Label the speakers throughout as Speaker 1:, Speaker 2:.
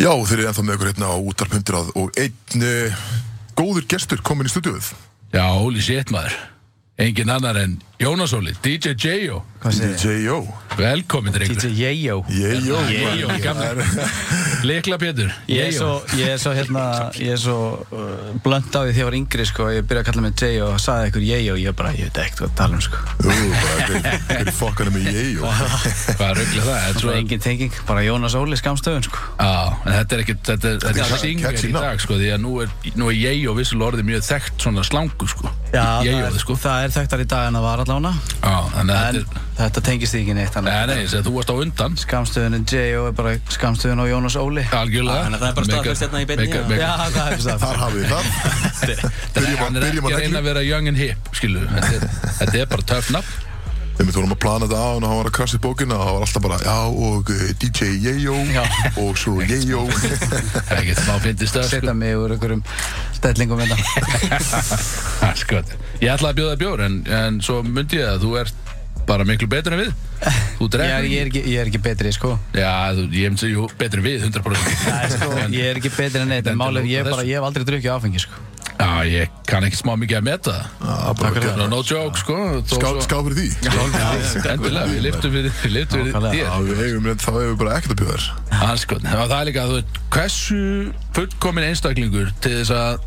Speaker 1: Já, þeir eru ennþá með ykkur hérna á útarp 100 og einn eh, góður gestur komin í stúdíuð.
Speaker 2: Já, holy shit maður Engin annar en Jónas Óli, DJ J.O.
Speaker 3: Hvað segir þið?
Speaker 1: DJ Jó.
Speaker 2: Velkomin drengur
Speaker 3: DJ Yeyo
Speaker 1: Ég Jó.
Speaker 2: J.O. gamli Lekla Pétur
Speaker 3: Ég er svo, ég er svo, hérna, ég er svo uh, blönd á því þegar ég var yngri, sko, ég byrjaði að kalla mig J og sagði ykkur Yeyo, ég bara, ég veit ekkert hvað að tala um, sko.
Speaker 1: Ú, bara, hver, hver fokkar er með Ég Jó?
Speaker 2: Hvað ruggla það? Þetta er
Speaker 3: Svo
Speaker 2: svo-
Speaker 3: engin tenging, bara Jónas Óli skamstöðun, sko.
Speaker 2: Já, en þetta er ekkert, þetta er, þetta
Speaker 1: Þetta
Speaker 2: er
Speaker 1: er
Speaker 2: singer
Speaker 1: catchy
Speaker 2: í
Speaker 1: nafn.
Speaker 2: dag sko Því að nú er, nú er J.O. vissulega orðið mjög þekkt svona slangu sko
Speaker 3: það,
Speaker 2: J.O.
Speaker 3: er,
Speaker 2: sko Já,
Speaker 3: það er þekktar í dag en það var allána,
Speaker 2: þannig að
Speaker 3: en
Speaker 2: þetta er
Speaker 3: þetta tengist því ekki neitt, þannig.
Speaker 2: Nei, nei, þess að þú varst á undan
Speaker 3: Skamstöðunin J.O. er bara skamstöðun á Jónas Óli.
Speaker 2: Algjörlega
Speaker 4: Já, þannig að það er bara staðfest hérna í beinni, já.
Speaker 3: Já,
Speaker 2: beinni
Speaker 3: það er fyrst það.
Speaker 1: Þar hafið þið það. Byrjum á-
Speaker 2: Hann er
Speaker 1: byrjum á
Speaker 2: ekki að
Speaker 1: neglu.
Speaker 2: reyna að vera young and hip, skilu Þetta er- þetta er bara töfna
Speaker 1: Þegar við vorum að plana þetta á hann og hann var að krasja í bókina og hann var alltaf bara, já, og eh, DJ Ég Jó og svo Ég Jó.
Speaker 2: Það er ekkert smá fyndist það sko
Speaker 3: Setta mig úr einhverjum stellingum hérna.
Speaker 2: Ha, Skot. Ég ætlaði að bjóða þér bjór en, en svo myndi ég að þú ert bara miklu betur en við Þú
Speaker 3: Ég
Speaker 2: dregur
Speaker 3: er, ég, er ekki, ég er ekki betri, sko.
Speaker 2: Já, þú, ég myndi segja jú, betur en við 100%
Speaker 3: Nei, sko, ég er ekki betri en neitt, en málið, er, ég, er bara, ég hef aldrei drukkið áfengi, sko.
Speaker 2: Já, ég kann ekki smá mikið að meta það
Speaker 1: Já, bara
Speaker 2: Þannig
Speaker 1: gegn-
Speaker 2: að No joke, sko þó
Speaker 1: Ská
Speaker 2: svo-
Speaker 1: ská fyrir því.
Speaker 2: Endilega, við liftum fyrir, við liftum fyrir
Speaker 3: Nákvæmlega.
Speaker 1: Já,
Speaker 2: þér
Speaker 1: við eigum, þá hefur við bara ekkert að bjóða þér.
Speaker 2: Hanskotn, það er líka að þú veit Hversu fullkomin einstaklingur til þess að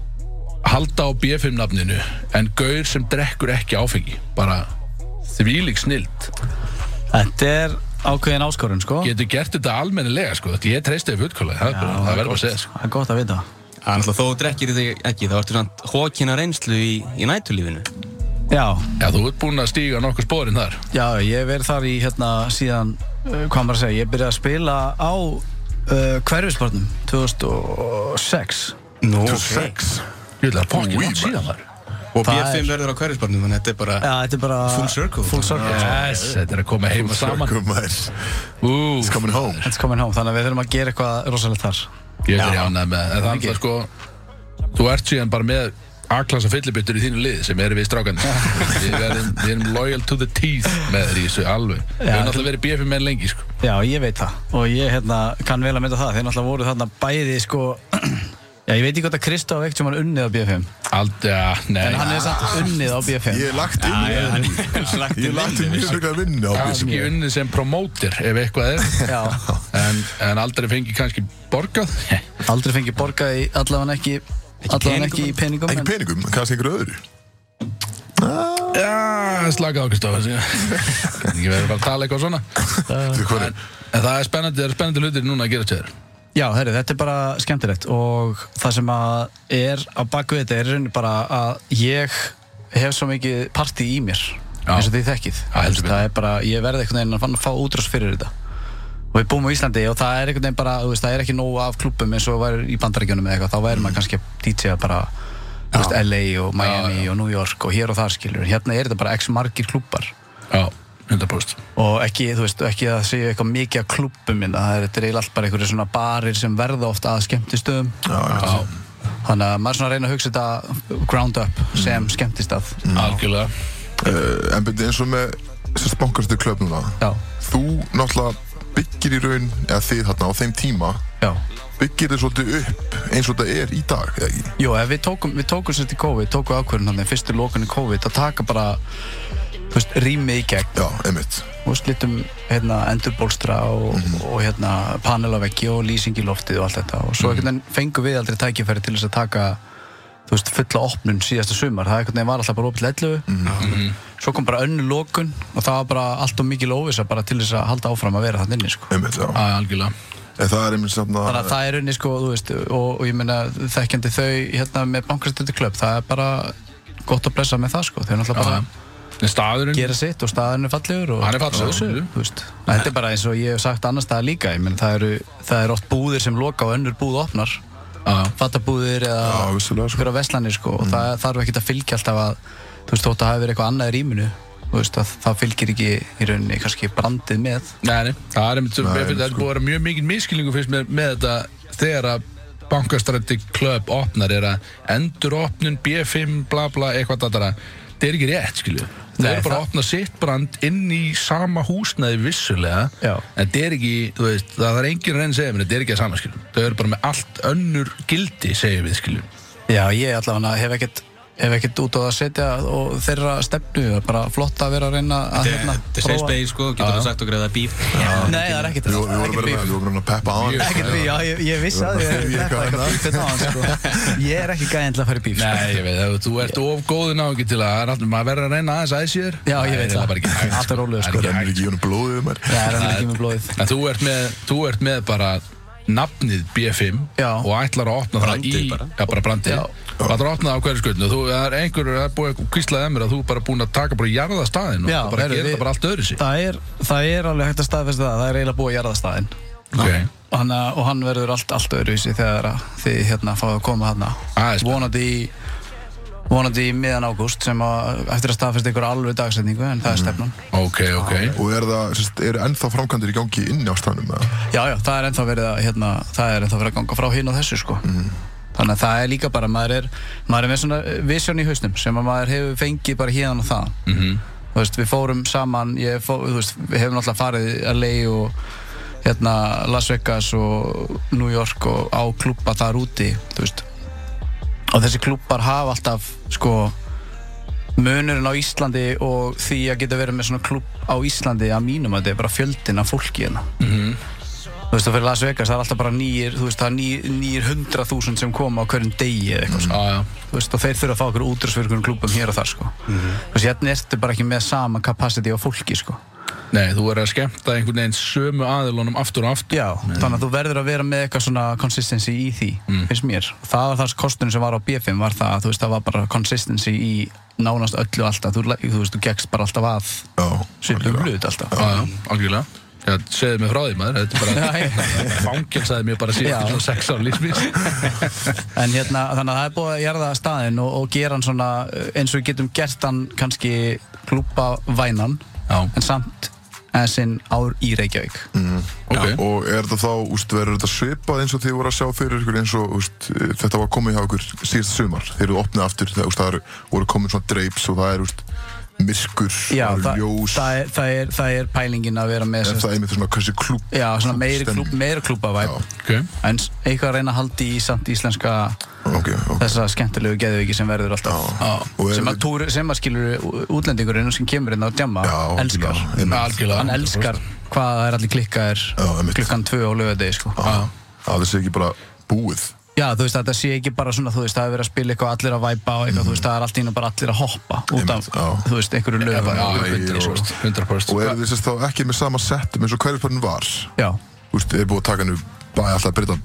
Speaker 2: halda á BFM-nafninu en gaur sem drekkur ekki áfengi bara þvílík snild
Speaker 3: Þetta er ákveðin áskorun, sko.
Speaker 2: getur gert þetta almennilega sko Þetta ég treysti þið fullkólega, það, er bara- það verður bara að segja sko.
Speaker 3: Það er gott að vita.
Speaker 4: Það er náttúrulega þó þú drekkir þig ekki, þá ertu svona hókina reynslu í, í nætulífinu.
Speaker 3: Já,
Speaker 2: Já, þú ert búinn að stíga nokkur spórin þar
Speaker 3: já, ég hef verið þar í hérna síðan, uh, hvað maður að segja, ég byrjaði að spila á uh, hverfisportnum 2006.
Speaker 4: Nú, no,
Speaker 1: 26.
Speaker 2: Ég vil að
Speaker 1: Úi,
Speaker 2: fokkin átt
Speaker 1: maður.
Speaker 2: síðan þar
Speaker 4: Og
Speaker 3: Það er-
Speaker 4: BFM verður á hverjusbarnum, þannig að þetta er bara...
Speaker 3: Já, þetta er bara...
Speaker 4: Full circle.
Speaker 3: Full circle, sko.
Speaker 2: Yes, þetta er að koma heima saman
Speaker 1: Come on.
Speaker 2: Ú,
Speaker 1: It's coming home.
Speaker 3: It's coming home, þannig að við þurfum að gera eitthvað rosalegt þar.
Speaker 2: Ég er jánað með En þannig að sko Þú ert síðan bara með A-klassa fyllibittur í þínu lið sem eru við strákandi Við erum, við erum loyal to the teeth með þér í þessu alveg Við
Speaker 3: Já.
Speaker 2: erum alltaf verið BFM menn lengi sko
Speaker 3: Já, ég veit það og ég hérna, kann vel að mynda það. Þeir náttúrulega voru þarna bæði, sko... Já, ég veit ekki hvort að Kristof ekkert sem hann unnið á BFM.
Speaker 2: Aldrei, ja, nei
Speaker 3: En hann er samt unnið á BFM.
Speaker 1: Ég er lagt inn í það.
Speaker 4: slagt
Speaker 1: Ég er lagt inn mjög mikla vinnu á BSM.
Speaker 2: Kanski unnið sem promóter ef eitthvað er
Speaker 3: Já,
Speaker 2: en, en aldrei fengið kannski borgað
Speaker 3: aldrei fengið borgað í allavega ekki, allavega ekki í peningum.
Speaker 1: Ekki
Speaker 3: en-
Speaker 1: peningum, kannski einhverju öðru.
Speaker 2: Já, slakað okkur stofa Ég verður bara að tala eitthvað svona
Speaker 1: Þú veist hvað
Speaker 2: en,
Speaker 1: er?
Speaker 2: en það er spennandi, það er spennandi hlutir núna að gera til þér
Speaker 3: Já, herri, þetta er bara skemmtilegt og það sem að er á bakvið þetta er í rauninni bara að ég hef svo mikið partí í mér
Speaker 2: Já.
Speaker 3: eins og þið þekkið
Speaker 2: Já, heldur betur.
Speaker 3: það er bara, ég verði einhvern veginn að fann að fá útrás fyrir þetta og við búum á Íslandi og það er einhvern veginn bara, þú veist, það er ekki nóg af klúbbum eins og var í bandaríkjunum eða eitthvað, þá væri
Speaker 2: Mm.
Speaker 3: maður kannski að DJ-a bara þú veist, LA og Miami og New York og hér og þar skilur, hérna er þetta bara x margir klúbbar
Speaker 2: Já, 100%
Speaker 3: og ekki, þú veist, ekki að segja eitthvað mikið að klubbum minna, það er þetta er eiginlega allt bara einhverju svona barir sem verða ofta að skemmtistöðum
Speaker 1: Já, já.
Speaker 2: Já,
Speaker 3: þannig að maður er svona að reyna að hugsa þetta ground up sem skemmtistað
Speaker 2: Mm. algjörlega
Speaker 1: Uh, En byrju, eins og með þessar bankastu klöp núna.
Speaker 3: já,
Speaker 1: Þú náttúrulega byggir í raun, eða þið þarna á þeim tíma,
Speaker 3: já
Speaker 1: byggir þið svolítið upp eins og þetta er í dag, eða ekki?
Speaker 3: Jú, ef við tókum, við tókum sér til COVID, tókum við ákvörðun þannig, fyrstu lókunni COVID, að taka bara, þú veist, rýmið í gegn,
Speaker 1: Já, einmitt.
Speaker 3: þú veist, litum, hérna, endurbólstra og, og hérna, panelaveggi og lýsing í loftið og allt þetta og svo einhvern veginn fengum við aldrei tækifæri til þess að taka, þú veist, fulla opnun síðasta sumar, það einhvern veginn var alltaf bara opið lellu, svo kom bara önnu lókun og það var bara allt og mikið lófisa bara til þess að halda áfram að vera þannig inni, sko.
Speaker 1: Einmitt, já.
Speaker 2: Já, algjörlega
Speaker 1: En það er einmitt
Speaker 3: Þannig að
Speaker 1: svona...
Speaker 3: það er unni sko, þú veist, og, og ég meina þekkjandi þau hérna með bankastöldu klöpp, það er bara gott að blessa með það sko, þau náttúrulega bara
Speaker 2: En staðurinn
Speaker 3: gera sitt og staðan er fallegur og
Speaker 2: Hann er fallegur,
Speaker 3: og þessu,
Speaker 2: jú.
Speaker 3: þú veist, En þetta er bara eins og ég hef sagt annars staðar líka, ég meina það eru, það eru oft búðir sem loka og önnur búð opnar,
Speaker 2: Já,
Speaker 3: fattabúðir eða
Speaker 1: Já, vissulega, sko.
Speaker 3: einhverja veslanir sko, og það þarf ekkert að fylgja alltaf að, þú veist, þótt að hafa verið eitthvað annað í rýminu, þú veist, að það fylgir ekki í rauninni kannski brandið með.
Speaker 2: Nei, nei, það er einmitt, ég finn
Speaker 1: nei,
Speaker 2: það er
Speaker 3: sko.
Speaker 2: búið að vera mjög mikið miskilningu fyrst með, með þetta þegar að bankastrætti klöp opnar er að enduropnun B5 bla bla eitthvað dættara þetta er ekki rétt, skilju. Þau
Speaker 3: Nei,
Speaker 2: eru bara að
Speaker 3: það-
Speaker 2: opna sitt brand inn í sama húsnaði vissulega,
Speaker 3: Já.
Speaker 2: en þetta er ekki, þú veist, það er enginn að reyna að segja mér, þetta er ekki að sama, skilju. Þau eru bara með allt önnur gildi, segjum við, skilju.
Speaker 3: Já, ég allavega hef ekkert hef ekkert út á það að setja og þeirra stefnu, það er bara flott að vera að reyna að
Speaker 4: Þetta
Speaker 3: hérna,
Speaker 4: er- þetta er safe space sko, getur það sagt okkur að það er bíf
Speaker 3: Nei, það er ekkert
Speaker 1: Við við vorum
Speaker 3: það er ekkert
Speaker 1: verið
Speaker 3: bíf.
Speaker 1: með- við vorum verið að peppa aðeins
Speaker 3: Ekkert bíf, já, ég, ég vissi að ég
Speaker 1: Ég
Speaker 3: þetta er
Speaker 1: kann
Speaker 3: eitthvað
Speaker 1: það.
Speaker 3: bíf þetta náðan, sko Ég er ekki gæðin til að fara í bíf sko.
Speaker 2: Nei, ég veit það, þú ert of góðin á ekki til að, það er alltaf- maður verður að reyna aðeins aðeins sér.
Speaker 3: Já, ég veit
Speaker 2: er
Speaker 3: það.
Speaker 2: bara ekki hægt,
Speaker 3: Allt er rólegur,
Speaker 2: Það
Speaker 3: sko.
Speaker 2: ekki
Speaker 1: Rennir
Speaker 2: hægt.
Speaker 1: ekki í honum blóðið um mér
Speaker 3: Já, það er hann ekki með blóðið
Speaker 2: En þú ert með, þú ert með bara nafnið B5
Speaker 3: Já.
Speaker 2: og ætlar að opna
Speaker 4: Brandið
Speaker 2: það í
Speaker 4: bara.
Speaker 2: Já, bara brandið
Speaker 3: Já.
Speaker 2: Það ætlar að opna það á hverju skutnu Þú það er einhverjur að búið að kvíslaði að mér að þú er bara búin að taka bara jarða staðin og
Speaker 3: Já,
Speaker 2: þú bara
Speaker 3: heyrðu,
Speaker 2: gera
Speaker 3: við-
Speaker 2: þetta bara allt öðru sig
Speaker 3: það er, það er alveg hægt að staðfesta það, það er eiginlega búið að jarða staðinn
Speaker 2: okay.
Speaker 3: hann, eh, og hann verður allt, allt öðruvísi þegar að þið hérna fáið að koma hérna
Speaker 2: Það er spennandi.
Speaker 3: vonandi í vonandi í miðan ágúst sem að, eftir að staðfesta ykkur alveg dagsetningu en
Speaker 2: Mhm.
Speaker 3: það er stefnan
Speaker 2: ok, ok
Speaker 1: Og er það, sérst, eru ennþá framkvæmdir í gangi inni á staðnum eða?
Speaker 3: já, já, það er ennþá verið að hérna, það er ennþá verið að ganga frá hinn og þessu sko
Speaker 2: Mhm.
Speaker 3: þannig að það er líka bara, maður er maður er með svona visjón í hausnum sem að maður hefur fengið bara hérna og það
Speaker 2: Mhm.
Speaker 3: þú veist, við fórum saman ég fó, þú veist, við hefum náttúrulega farið LA og hérna, Las Vegas og New York og á klúbba þar úti þú veist og þessi klúbbar hafa alltaf sko munurinn á Íslandi og því að geta verið með svona klúbb á Íslandi að mínum að þetta er bara fjöldin af fólki hérna þú veist, og fyrir Las Vegas það er alltaf bara nýjir, þú veist, það er nýjir, nýjir 100.000 sem koma á hverjum degi eða eitthvað
Speaker 2: Já, já.
Speaker 3: þú veist, og þeir þurfa að fá okkur útrúsfyrkunum klúbum hér og þar sko. þú veist, hérna ertu bara ekki með sama capacity á fólki sko.
Speaker 2: Nei, þú er að skemmta einhvern veginn sömu aðilunum aftur og aftur
Speaker 3: já, þannig að þú verður að vera með eitthvað svona consistency í því, finnst mér það var það kostunum sem var á BFM var það, að, þú veist, það var bara consistency í nánast öllu alltaf, þú, le- þú veist, þú gekkst bara alltaf að
Speaker 1: Já
Speaker 3: svipum hlut alltaf
Speaker 2: Já, já, algjörlega Já, segðu mig frá því maður, þetta er bara fangelsaði mér bara
Speaker 3: Já.
Speaker 2: síðan svona sex ára lífsmís
Speaker 3: En hérna, þannig að það er búið að gerða staðinn og, og gera hann svona eh, eins og við getum gert hann kannski klúpa vænan
Speaker 2: Já.
Speaker 3: en samt eða sinn ár í Reykjavík
Speaker 2: Ok,
Speaker 1: Og er þetta þá, úst, verður þetta svipað eins og þið voru að sjá fyrir ykkur eins og úst, þetta var komið hjá ykkur síðast sumar þeir eru opnið aftur, það, úst, það eru, voru komið svona dreips og það er úst, myrkur,
Speaker 3: Já,
Speaker 1: það
Speaker 3: það,
Speaker 1: eru ljós
Speaker 3: það, er, það, er, það er pælingin að vera með
Speaker 1: en
Speaker 3: sem, Eh,
Speaker 1: það er einmitt svona hversi klúb
Speaker 3: Já, svona meiri, klúb, meiri klúbavæp
Speaker 1: Já.
Speaker 2: ok
Speaker 3: En s- eitthvað að reyna að haldi í samt íslenska
Speaker 1: Ok, ok
Speaker 3: þessa skemmtilegu geðviki sem verður alltaf
Speaker 1: Já. Og er-
Speaker 3: sem, að túr, sem að skilur útlendingurinn sem kemur inn á djamma
Speaker 1: Já,
Speaker 3: elskar
Speaker 1: algjörlega, einmitt.
Speaker 2: Algjörlega.
Speaker 3: Hann elskar hvað það er allir klikkaðir
Speaker 1: Já, einmitt.
Speaker 3: klukkan tvö á lögadegi sko.
Speaker 1: Já, það sé ekki bara búið
Speaker 3: Já, þú veist, þetta sé ekki bara svona, þú veist, það er verið að spila eitthvað allir að væpa og eitthvað, þú veist, það er allt í einu bara allir að hoppa út af,
Speaker 1: Mhm. Einmitt, já.
Speaker 3: þú veist, einhverju
Speaker 2: Já,
Speaker 3: lögum.
Speaker 2: já,
Speaker 1: og-
Speaker 2: 100%, 100%.
Speaker 1: Og eru þið sérst þá ekki með sama settum eins og hverjarpörnum var
Speaker 3: Já.
Speaker 1: Úst, er búið að taka hennu bæ alltaf að breyta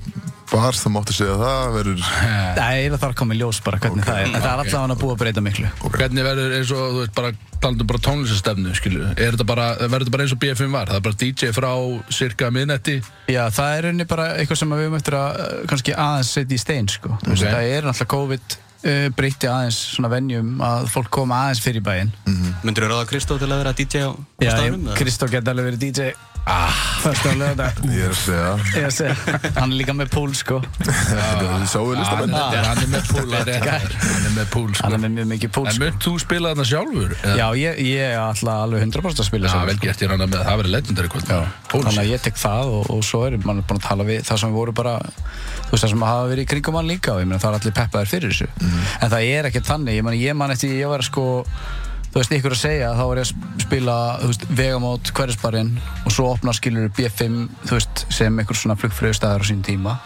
Speaker 1: bar það mátti segja það verður
Speaker 3: Það er það að koma í ljós bara hvernig það er, en það er
Speaker 2: ok.
Speaker 3: alltaf hann að búa að breyta miklu.
Speaker 2: Hvernig verður eins og, þú veist, bara talandum bara tónlistastefnu, skilu Er þetta bara, verður þetta bara eins og BFM var Það er bara DJ frá cirka miðnætti
Speaker 3: Já, það er unni bara eitthvað sem við höfum eftir að uh, kannski aðeins setja í stein, sko. Þú veist,
Speaker 2: Ok.
Speaker 3: það er náttúrulega COVID uh, breytti aðeins svona venjum að fólk koma aðeins fyrir í bæinn.
Speaker 2: Mm.
Speaker 4: Myndur þú ráða Kristó til að vera DJ á á
Speaker 3: Já,
Speaker 4: staðnum? eða?
Speaker 3: Kristó geta alveg verið DJ. Ah. Fyrst á lögadag.
Speaker 1: Ég er að segja
Speaker 3: Ég að segja, hann er líka með pól, sko.
Speaker 1: Þið sáuðu
Speaker 2: Hann
Speaker 1: listamenn
Speaker 2: þetta er- hann er með púl það er rétt. Hann er með púl,
Speaker 3: Hann
Speaker 2: sko
Speaker 3: er með mjög mikið pól,
Speaker 2: En
Speaker 3: sko.
Speaker 2: munt þú spila þarna sjálfur? Eða-
Speaker 3: Já, ég, ég ætla alveg 100% að spila
Speaker 2: Já,
Speaker 3: sjálfur,
Speaker 2: vel
Speaker 3: sko.
Speaker 2: gert ég rann með, það verður legendary kvöld
Speaker 3: Þannig að
Speaker 2: Þannig
Speaker 3: ég tek það og, og svo er mann búin að tala við það sem voru bara, þú veist það sem hafa verið í kringum hann líka og ég meina það er allir peppaðir fyrir þessu en það er ekkert þannig, ég man, ég man eftir ég var sko, þú veist ykkur að segja þá var ég að spila, þú veist, vegamót hverjusbarinn og svo opna skilur B5, þú veist, sem einhver svona flugfröðstæðar á sín tíma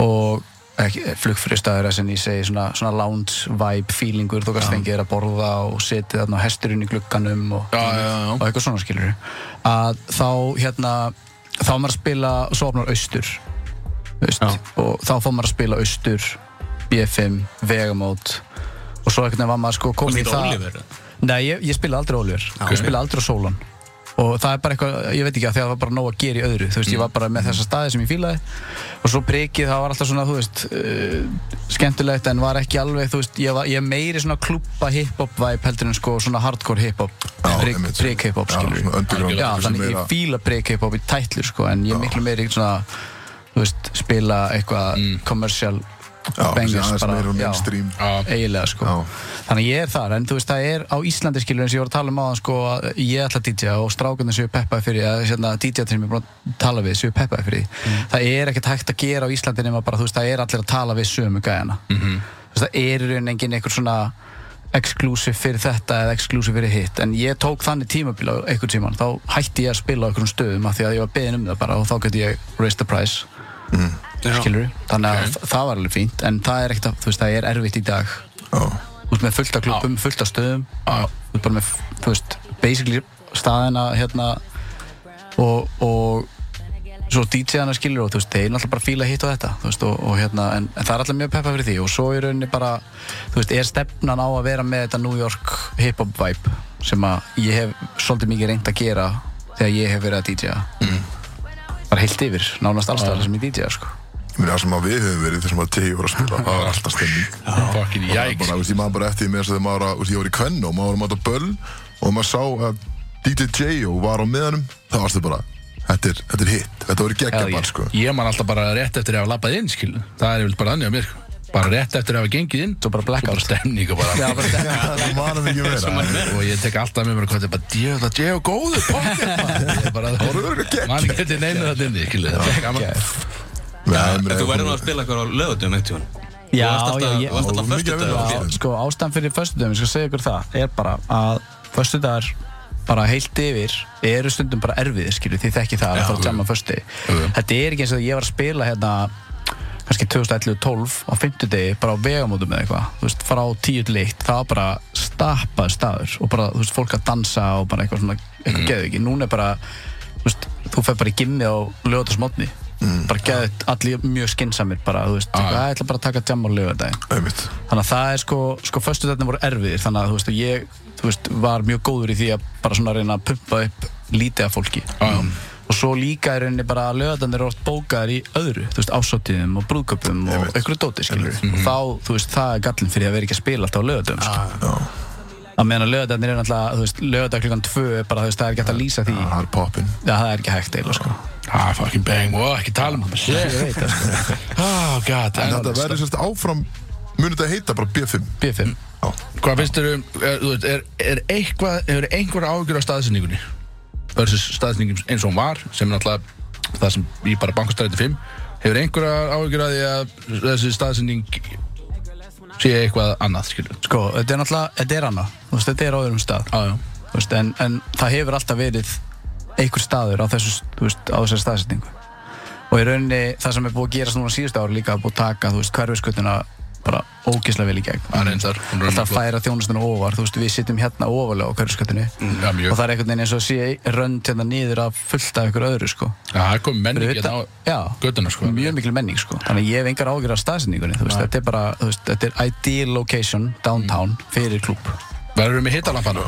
Speaker 3: og ekki, flugfristæður sem ég segi svona, svona lounge vibe feelingur, þú kannst fengið þér að borða og setið þarna á hesturinn í glugganum og,
Speaker 2: Já, já, já.
Speaker 3: og eitthvað svona skilur að þá hérna þá er maður að spila, svo opnar austur veist, og þá fór maður að spila austur, BFM vegamót og svo einhvern veginn var maður sko komið í
Speaker 4: Varstu
Speaker 3: það
Speaker 4: ekki Oliver?
Speaker 3: Nei, ég, ég spila aldrei Oliver, ég spila aldrei á Sólan og það er bara eitthvað, ég veit ekki að því að það var bara nóg að gera í öðru, þú
Speaker 1: Mm.
Speaker 3: veist, ég var bara með þessa staði sem ég fílaði og svo prikið, það var alltaf svona, þú veist uh, skemmtilegt en var ekki alveg, þú veist ég, var, ég er meiri svona klúpa hip-hop vibe heldur en sko svona hardcore hip-hop prik,
Speaker 1: einmitt.
Speaker 3: prik hip-hop,
Speaker 1: Já,
Speaker 3: skilur
Speaker 1: svona underground,
Speaker 3: Já,
Speaker 1: eitthvað sem
Speaker 3: þannig
Speaker 1: meira-
Speaker 3: ég fíla prik hip-hop í tætlur, sko, en ég er miklu meiri svona, þú veist, spila eitthvað commercial
Speaker 1: Mm. Já,
Speaker 3: bangers
Speaker 1: þessi aðeins
Speaker 3: bara,
Speaker 1: meira
Speaker 3: já.
Speaker 1: mainstream.
Speaker 2: Já.
Speaker 3: eiginlega sko
Speaker 1: Já.
Speaker 3: þannig að ég er þar en þú veist það er á Íslandi skilur eins og ég voru að tala um áðan sko að ég ætla að DJ og strákunni séu peppaði fyrir að hérna, DJ sem ég er búin að tala við séu peppaði fyrir því. það er ekkert hægt að gera á Íslandi nema bara þú veist það er allir að tala við sömu gæjana -hmm. þú veist það er í raun engin einhver svona exclusive fyrir þetta eða exclusive fyrir hitt en ég tók þannig tímabil á einhvern tíman þá hætti ég að spila á einhverjum stöðum af því að ég var beðin um það bara og þá gæti ég raise the price skilur þannig að það var alveg fínt en það er ekkert að, þú veist, það er erfitt í dag
Speaker 1: Já,
Speaker 3: þú veist með fullt af klubbum, fullt af stöðum þú veist bara með, þú veist, basically staðina hérna og, og svo DJ-ana skilur og þú veist, þeir náttúrulega bara fíla hitt og þetta þú veist, og, og hérna, en, en það er alltaf mjög peppa fyrir því og svo í rauninni bara, þú veist, er stefnan á að vera með þetta New York hip-hop vibe sem að ég hef svolítið mikið reynd að gera þegar ég hef verið að DJ-a bara heilt yfir, nánast allstæðar sem ég DJ-a sko.
Speaker 1: ég meina það sem að við höfum verið þessum að tegi voru að spila, það var alltaf stemming.
Speaker 2: Fucking
Speaker 1: Og það er
Speaker 2: jæks
Speaker 1: bara, þú veist, ég maður bara eftir því með þess að þegar maður, var að- þú veist, ég var í kvenn og maður var að máta böll og maður sá að DJ J.O. var á miðanum, þá varst þið bara, þetta er, þetta er hitt, þetta voru
Speaker 3: Já,
Speaker 1: geggjaball,
Speaker 3: ég-
Speaker 1: sko.
Speaker 2: Ég man alltaf bara rétt eftir að hafa labbað inn, skil Það er vel bara þannig á mér, sko Bara rétt eftir að hafa gengið inn
Speaker 3: Svo bara blackout.
Speaker 2: Svo bara stemning og bara
Speaker 3: Já, bara þetta
Speaker 1: Það varum ekki meira.
Speaker 2: Og ég tek alltaf með mér hvað þetta er bara Djöða, djöða, góðu pocket, maður." Ég er bara,
Speaker 1: Það voru verið geggjaball.
Speaker 2: Man getur neina þetta inni, skil
Speaker 4: Þú verður nú að spila eitthvað á lögutum eitt tíðan
Speaker 3: Já, já,
Speaker 4: Þú
Speaker 3: ég-
Speaker 4: varst alltaf
Speaker 1: Mikið
Speaker 4: förstu
Speaker 1: vinnu á
Speaker 4: dag
Speaker 1: þér.
Speaker 3: sko ástæðan fyrir föstudöfum, ég skal segja ykkur það er bara að föstudagar bara heilt yfir, eru stundum bara erfiðir skilju, því þekki það að það er að jamma föstu þetta er ekki eins og ég var að spila hérna kannski 2011-12 á fimmtudegi bara á vegamótum eða eitthvað þú veist, frá tíu til eitt, það var bara stappað staður og bara, þú veist, fólk að dansa og bara eitthvað svona, eitthvað geðu ekki núna er bara, þú veist, þú fer bara í gimmi á lögatasmotni mm. bara geðu allir mjög skinsamir bara, þú veist, ah. ég ætla bara að taka jam á lögadaginn
Speaker 1: Einmitt.
Speaker 3: þannig að það er sko, sko föstudagarnir voru erfiðir þannig að þú veist, ég þú veist, var mjög góður í því að bara svona reyna að pumpa upp lítið af fólki mm. og svo líka er reyni bara að lögadarnir eru oft bókaðar í öðru, þú veist, ásótiðum og brúðköpum og
Speaker 1: Einmitt. Mhm.
Speaker 3: einhverju dóti, skilur og þá, þú veist, það er gallin fyrir að vera ekki að spila alltaf á lögadum, skilur
Speaker 1: Ah, Já,
Speaker 3: að meðan að lögadarnir er náttúrulega, þú veist, lögadag klukkan tvö er bara, þú veist, það er ekki hægt að lýsa því
Speaker 1: það er poppin.
Speaker 3: Já, það er ekki hægt eiginlega, sko.
Speaker 2: Ah, fucking bang, wow, ekki tala um
Speaker 3: Ég
Speaker 2: það
Speaker 3: veit það, sko.
Speaker 2: Oh, god,
Speaker 1: En
Speaker 2: en
Speaker 1: þetta verður sérst áfram, munið þetta heita bara B5.
Speaker 3: B5.
Speaker 1: Já.
Speaker 2: Hvað finnst þér um, er, þú veist, er, er eitthvað, hefur einhver áhugjur af staðsynningunni? Versus staðsynningum eins og hún var, sem er náttúrulega það sem ég bara bankastræti 5. Hefur einhver áhugjur af því að þessi staðsynning sé eitthvað annað, skilur?
Speaker 3: Sko, þetta er náttúrulega, þetta er annað, þú veist, þetta er á öðrum stað.
Speaker 2: Já, já.
Speaker 3: Þú veist, en, en það hefur alltaf verið einhver staður á, þessu, þú veist, á þessari staðsetningu og í rauninni það sem er búið að gerast núna síðustu ári líka er búið að taka þú veist, hverfiskutuna bara ógislega vel í gegn
Speaker 2: Það er eins þar, hún er
Speaker 3: alltaf að
Speaker 2: flott.
Speaker 3: færa þjónustuna ofar þú veist, við sittum hérna ofalega á hverfiskutunni
Speaker 2: Mm, já, mjög.
Speaker 3: og það er einhvern veginn eins og sé rönd hérna niður að fullta ykkur öðru sko.
Speaker 2: Já, það kom menning
Speaker 3: Fyrir
Speaker 2: hérna á
Speaker 3: utan- já,
Speaker 2: göttuna, sko.
Speaker 3: mjög mikil menning sko. þannig að ég hef engar ágjur af staðsetningunni þú veist, þetta er bara, þú veist, þetta er ideal location downtown fyrir klúb
Speaker 2: Verður með hittalampana?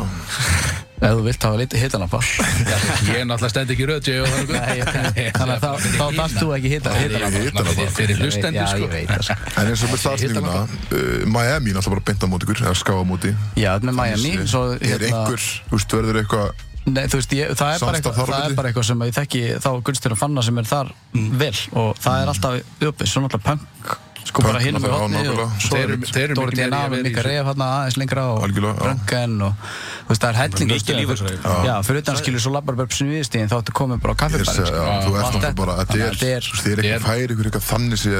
Speaker 3: ef þú vilt hafa litið hittalampa
Speaker 2: Ég er náttúrulega stend ekki röðt, ég og það
Speaker 3: Nei, ég- þannig að þá- þá þarfst þú ekki hitta
Speaker 2: er
Speaker 3: hitta
Speaker 1: ég-
Speaker 2: hittalampana. Fyrir- Fyrir hlustendur,
Speaker 3: Já,
Speaker 2: sko.
Speaker 3: ég veit það sko.
Speaker 1: En eins og með staðsninguna, uh, Miami er alltaf bara beint á móti ykkur, eða ská á móti.
Speaker 3: Já, með Miami svo, hérna-
Speaker 1: Er einhver, þú veist, verður eitthvað
Speaker 3: nei, þú veist, ég, það, er bara
Speaker 1: Samstarf
Speaker 3: eitthvað,
Speaker 1: þar á
Speaker 3: það er
Speaker 1: milli?
Speaker 3: bara eitthvað sem ég þekki þá Gunstur og Fanna sem er þar
Speaker 1: Mm.
Speaker 3: vel og það er alltaf uppi, svo náttúrulega punk sko bara
Speaker 1: Punk,
Speaker 3: hinum við
Speaker 1: náttúrulega,
Speaker 3: hotni
Speaker 1: nákvæmlega.
Speaker 3: og svo
Speaker 2: Þeir
Speaker 3: er
Speaker 2: eru- þeir eru
Speaker 3: Dóri
Speaker 2: mikið meira
Speaker 3: DNA
Speaker 2: í að vera
Speaker 3: með
Speaker 2: í
Speaker 3: Mika
Speaker 2: þessu.
Speaker 3: Reyf hérna aðeins lengra og
Speaker 1: Algjörlega, já.
Speaker 3: Röngan og þú veist, það er hellingur
Speaker 4: mikið líf þessar
Speaker 3: já. sko. já, fyrir utan skilur svo labbar upp snuðistíðin þá ertu komið bara á
Speaker 1: Ég er að
Speaker 3: sko. kaffibæri
Speaker 1: segja, já, þú ert
Speaker 3: Allt
Speaker 1: náttúrulega bara, þetta er,
Speaker 3: Þannig að þetta er-
Speaker 1: þú veist, þið er ekki
Speaker 2: þetta er-
Speaker 1: færi ykkur eitthvað þannig sé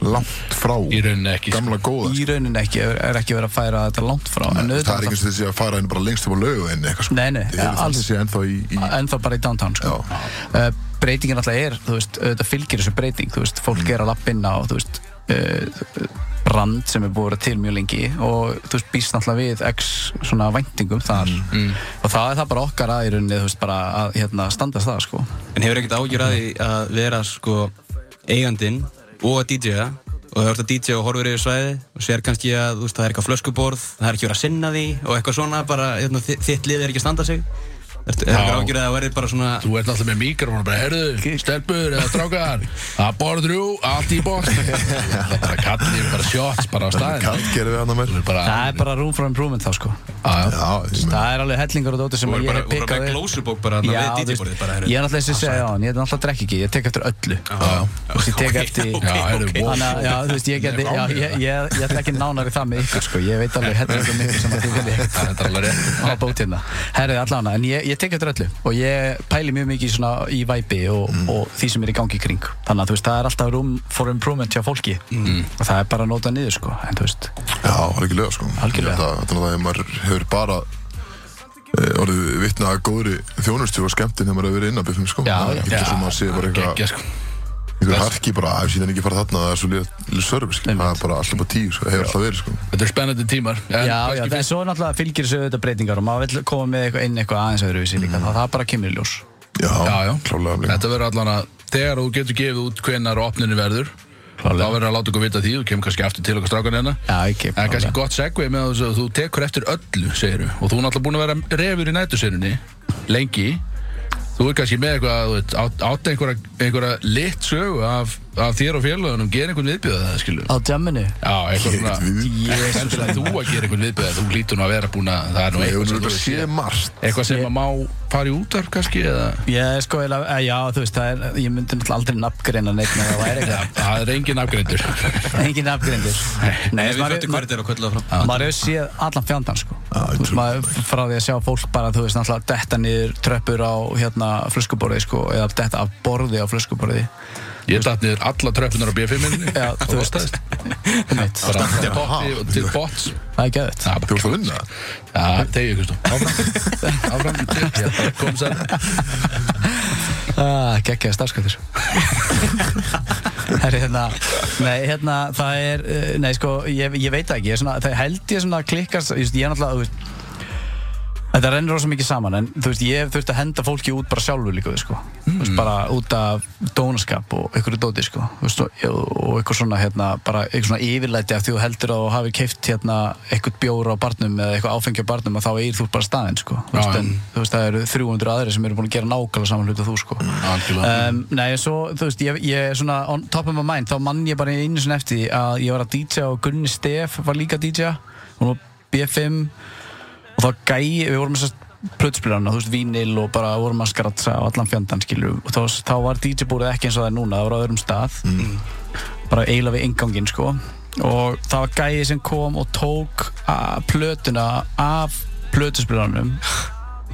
Speaker 1: langt frá
Speaker 2: Í rauninni ekki, sko.
Speaker 1: gamla góða
Speaker 3: í
Speaker 1: sko.
Speaker 3: rauninni ekki, er er ekki verið að færa þetta langt frá en
Speaker 1: það
Speaker 3: auðvitað
Speaker 1: er ekki sem þið sé að fara henni bara lengst upp á lögu henni eitthvað sko.
Speaker 3: Nei, nei,
Speaker 1: þið er
Speaker 3: alls-
Speaker 1: þannig sé ennþá í, í
Speaker 3: ennþá bara í downtown sko. uh, breytingin alltaf er þú veist, auðvitað fylgir þessu breyting þú veist,
Speaker 4: Mm.
Speaker 3: fólk er að lappinna og þú veist uh, brand sem er búið að vera til mjög lengi og þú veist, býst alltaf við x svona væntingum þar
Speaker 4: Mm,
Speaker 3: og það er það bara okkar að í rauninni þú veist, bara að hérna, standast það sko.
Speaker 4: En hefur ekkert ágjur að því að vera sko eigandinn og að DJ-a og það er að DJ og horfur yfir svæði og sér kannski að þú veist, það er eitthvað flöskuborð það er ekki verið að sinna því og eitthvað svona bara hérna, þi- þitt lið er ekki að standa sig Ertu er ekki rákjur að það verði bara svona
Speaker 2: Þú ert náttúrulega með mikrofónu bara, herðu, stelpur eða strákar, að borður jú, allt í bótt. bara kallir, bara shots, bara á staðin.
Speaker 1: Kall gerum við annað mér
Speaker 2: Þú er bara,
Speaker 3: Það er bara room for improvement þá sko
Speaker 2: að,
Speaker 1: Já, ég meina,
Speaker 3: Það er alveg hellingar og dóti sem
Speaker 4: Mm.
Speaker 3: að
Speaker 4: Þú voru
Speaker 3: ég
Speaker 4: bara,
Speaker 3: hef
Speaker 4: voru
Speaker 3: pikkað
Speaker 4: bara með
Speaker 3: upp.
Speaker 4: glósubók bara þarna
Speaker 3: Já,
Speaker 4: við
Speaker 3: þú
Speaker 4: DJ-borðið
Speaker 3: veist,
Speaker 4: bara,
Speaker 3: Ég
Speaker 4: herru.
Speaker 3: er náttúrulega eins og ég segja á hann, ég er náttúrulega drekk ekki, ég tek eftir öllu
Speaker 4: Já.
Speaker 3: Þú veist, ég tek
Speaker 4: Ok,
Speaker 3: eftir
Speaker 4: ok,
Speaker 2: Já, heyrðu,
Speaker 4: ok.
Speaker 2: wow.
Speaker 3: Þannig að, já, þú veist, ég geti, já, ég, ég, ég ætla ekki nánari það með ykkur, sko, ég veit alveg hellingar mikið sem að þið vilja
Speaker 2: það er þetta alveg rétt.
Speaker 3: á bót hérna Herrið, allan, en ég, ég tek eftir öllu og ég pæli mjög mikið í svona í væpi og, og því sem er í gangi í kring Þannig að, þú veist, það er alltaf room for improvement hjá fólki og það er bara að nota niður, sko, en þú veist
Speaker 1: Já, algjörlega sko
Speaker 3: Algjörlega.
Speaker 1: Það- Þannig að ef maður hefur bara eh, orðið vitna að góðri þjónustu og skemmtinn þegar maður hefur verið innan bifum sko
Speaker 3: Já,
Speaker 1: Það er
Speaker 3: já.
Speaker 1: ekki sem maður sé bara eitthvað
Speaker 2: Gekkja, sko.
Speaker 1: einhver harki bara að síðan ekki fara þarna það er svo liða sörfi sko það er bara alltaf bara tíu sko það hefur alltaf verið sko
Speaker 2: Þetta er spennandi tímar. En
Speaker 3: Já, já,
Speaker 2: kannski
Speaker 3: en svo náttúrulega fylgir þessu auðvitað breytingar og maður vil koma með eitthvað inn eitthvað aðeins öðruvísi líka, mm. það bara kemur í ljós.
Speaker 1: já
Speaker 2: Já, já.
Speaker 1: klálega líka.
Speaker 2: Þetta verður allan að þegar þú getur gefið út hvenar opninu verður
Speaker 3: Klárlega.
Speaker 2: þá verður að láta okkur vita því, þú kemur kannski aftur til okkur strákan hérna
Speaker 3: Já, ekki.
Speaker 2: En kannski gott segvið með þess að þú tekur eftir öllu, segir þú og þú er náttúrulega búin að vera refur í næturseinunni lengi þú er kannski með eitthvað, þú veit, átt át einhverja, einhverja lit sögu af, af þér og félagunum, gera einhvern viðbjöða það, skilur
Speaker 3: Á djamminu?
Speaker 2: Já, eitthvað
Speaker 1: Ég er
Speaker 2: svona
Speaker 1: ekkert við-
Speaker 2: Ég er þú að gera einhvern viðbjöða, þú lítur nú að vera búin að það er nú
Speaker 1: Ég
Speaker 2: eitthvað
Speaker 1: hefur nú
Speaker 2: sem, þú
Speaker 1: sé
Speaker 2: hefur séð.
Speaker 1: margt
Speaker 2: eitthvað sem að má fara í útarp kannski eða
Speaker 3: Ég sko, ég, já, þú veist, það er, ég myndi náttúrulega aldrei nafngreina neitt með það væri
Speaker 2: Já,
Speaker 3: eitthvað.
Speaker 2: það er engin afgreyndur
Speaker 3: Engin nafngreindir. Nei,
Speaker 4: Nei,
Speaker 3: þú veist,
Speaker 4: við
Speaker 3: maður-
Speaker 4: fötum hverju þetta er að kvölda
Speaker 3: ma-
Speaker 4: fram
Speaker 3: Maður hefur séð allan fjandann, sko.
Speaker 1: Já,
Speaker 3: Þú veist,
Speaker 1: true.
Speaker 3: maður frá því að sjá fólk bara, þú veist, náttúrulega detta niður tröppur á hérna flöskuborði, sko, eða detta af borði á flöskuborði.
Speaker 2: Ég datt niður alla tröflunar á B5-inni
Speaker 3: Já,
Speaker 2: og
Speaker 3: þú sko.
Speaker 2: hóstaðist
Speaker 3: Einmitt.
Speaker 2: Bara til
Speaker 1: Já.
Speaker 2: potti og til bots
Speaker 3: Það er gæðið.
Speaker 2: Já,
Speaker 1: þú ert að vinna
Speaker 2: Já, tegja ykkur stóð Áfram, áfram, Hérna, kom sér
Speaker 3: Ah, geggjaði starfskvættir Herri, hérna Nei, hérna, það er eh, Nei, sko, ég, ég veit það ekki ég er svona, Það held ég svona klikkast Ég, ég er náttúrulega, þú veist Þetta rennur rosa mikið saman En þú veist, ég hef þurft að henda fólki út bara sjálfur líka sko. Þú veist, bara út af dónaskap og einhverju dóti, sko Þú veist, og, og eitthvað svona, hérna Bara eitthvað svona yfirlæti af því þú heldur að þú hafi keift hérna eitthvað bjóra á barnum eða eitthvað áfengi á barnum að þá eigir þú bara staðinn, sko Þú veist,
Speaker 2: Já,
Speaker 3: en,
Speaker 2: já.
Speaker 3: þú veist, það eru 300 aðri sem eru búin að gera nákvæmlega saman hluta þú sko
Speaker 2: algjörlega.
Speaker 3: um, Nei, en svo, þú veist, ég, ég er svona on top of my mind, þá mann ég bara einu sinni eftir því að ég var að DJ og Gunni Stef var líka DJ, hún var B5 og þá gæi, við vorum þess að plötspilana, þú veist, vínil og bara vorum að skratsa og allan fjandann, skilur og þá, þá var DJ búrið ekki eins og það er núna, það var á öðrum stað bara eiginlega við inganginn sko og það var gæði sem kom og tók a- plötuna af plötuspilaranum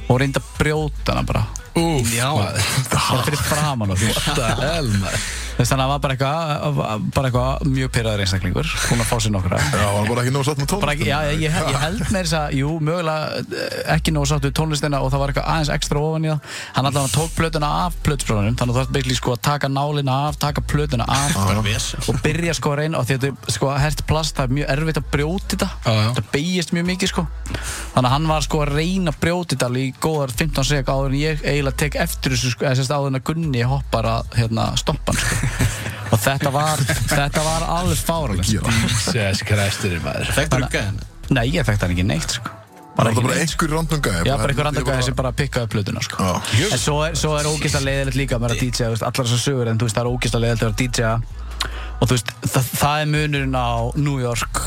Speaker 3: og reyndi að brjóta hana bara
Speaker 2: Úf,
Speaker 4: Já.
Speaker 2: maður,
Speaker 3: bara fyrir framan og þú
Speaker 2: what the hell, maður
Speaker 3: Þess þannig að það var bara eitthvað bara eitthvað mjög pyrraður einstaklingur hún að fá sér nokkra
Speaker 1: já var bara ekki nóg satt með
Speaker 3: bara
Speaker 1: tónlist
Speaker 3: ekki, já, ég, ég ég held með þess að, jú, mögulega eh, ekki nóg sátt við tónlistina og það var eitthvað aðeins ekstra ofan í það hann allavega tók plötuna af plötsprónunum þannig að þú þarf byggli sko að taka nálina af taka plötuna af og byrja sko að reyna og því að þetta er sko hert plast það er mjög erfitt að brjóta þetta
Speaker 2: Já, já.
Speaker 3: þetta beigist mjög mikið sko þannig að hann var sko að reyna að brjóta þetta alveg í góðar 15 sek áður en ég eiginlega tek eftir þessu sko, eða sérst áður en að Gunni hoppar að hérna, stoppa hann sko og þetta var, þetta var alveg fáralegt sko.
Speaker 2: Jesus Christur, maður
Speaker 4: Þekktur upp gæðin
Speaker 3: Nei, ég þekkt hann ekki neitt sko.
Speaker 1: það var bara
Speaker 3: neitt.
Speaker 1: einhver random gæði
Speaker 3: Já, bara einhver andagæði sem bara pikkaði upp plötuna sko.
Speaker 1: Já.
Speaker 3: En svo er, svo er ógist að leiðilegt líka að vera DJ, þú veist, allar þessar sögur en þú veist, það er ógist að leiðilegt að vera DJ og þú veist, það, það er munurinn á New York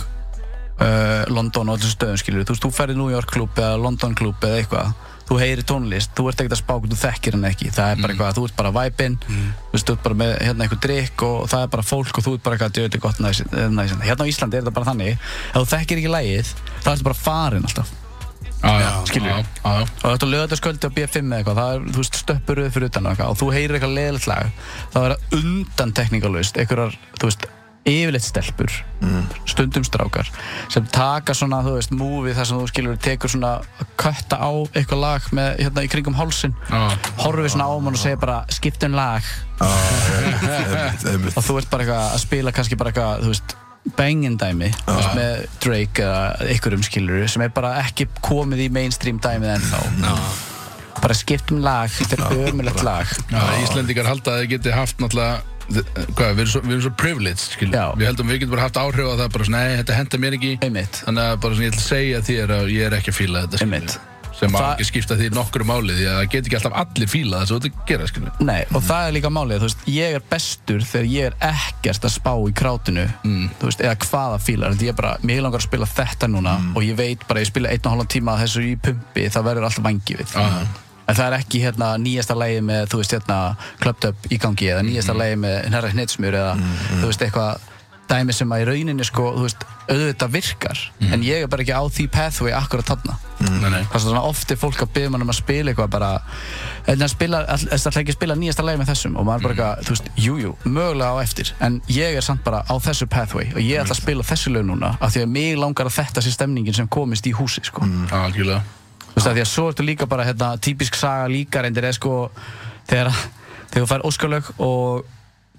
Speaker 3: uh, London og allir stöðum skilur þú veist, þú ferði New York klub eða London klub eða eitthvað þú heyri tónlist, þú ert ekkert að spáka þú þekkir hann ekki, það er bara eitthvað, þú ert bara væpin þú veist, þú ert bara með hérna eitthvað drikk og það er bara fólk og þú ert bara eitthvað djöðu gott næs, næs, hérna á Íslandi er þetta bara þannig ef þú þekkir ekki lægið, þá ertu bara farin alltaf
Speaker 2: Já, já,
Speaker 3: Skilur.
Speaker 2: já, já, já.
Speaker 3: og þetta lögðarsköldi á B5 eða eitthvað það er, þú veist, stöppuröð fyrir utan og eitthvað og þú heyrir eitthvað leðilegt lag það verða undan tekníkalust einhverjar, þú veist, yfirleitt stelpur stundum strákar sem taka svona, þú veist, múvi þar sem þú skilur tekur svona að kötta á eitthvað lag með, hérna, í kringum hálsin
Speaker 2: Já.
Speaker 3: horfið svona á mann og segir bara skiptum lag og
Speaker 1: bara
Speaker 3: þú ert bara eitthvað að spila kannski bara eitthvað, þú veist bangin dæmi þú veist, með Drake eða einhverjum skilur sem er bara ekki komið í mainstream dæmið ennþá bara skiptum lag, þetta er ömulegt lag
Speaker 2: Já, Íslendingar halda að þið geti haft náttúrulega þ- Hvað, við erum svo, við erum svo privileged, skil
Speaker 3: Já.
Speaker 2: Við heldum við getum bara haft áhrif á það bara svona, nei, þetta henda mér ekki
Speaker 3: einmitt,
Speaker 2: Þannig að bara svona, ég ætla að segja þér að ég er ekki að fíla þetta skilur.
Speaker 3: einmitt
Speaker 2: sem
Speaker 3: Og
Speaker 2: má
Speaker 3: það-
Speaker 2: ekki skipta því nokkru máli því að það get ekki alltaf allir fíla það sem þú ert að gera skilur.
Speaker 3: Nei, og það er líka málið, þú veist, ég er bestur þegar ég er ekkert að spá í krátinu þú veist, eða hvaða fílar því ég er bara, mér langar að spila þetta núna og ég veit bara, ég spila einn og hálfan tíma að þessu í pumpi, það verður alltaf vangi við
Speaker 2: Aha.
Speaker 3: en það er ekki hérna nýjasta lægi með, þú veist, hérna klöptöp í gangi eða nýjasta mm. lægi með hnerra hnitsmjör eða, þú veist, eitthvað dæmi sem að í rauninni, sko, þú veist auðvitað virkar, en ég er bara ekki á því pathway akkurat þarna
Speaker 2: Mhm. Nei, nei.
Speaker 3: Það er svona ofti fólk að byggja mann um að spila eitthvað bara, en það spila, all- það ætla ekki að spila nýjasta lagi með þessum og maður
Speaker 2: Mhm.
Speaker 3: bara eitthvað, þú veist, jújú, jú, mögulega á eftir en ég er samt bara á þessu pathway og ég ætla að spila þessu lög núna af því að mig langar að þetta sé stemningin sem komist í húsi sko.
Speaker 2: Já, algjörlega
Speaker 3: þú veist, af því að svo ertu líka bara hérna, típisk saga líka reyndir er sko þegar, þegar þú fær óskalög og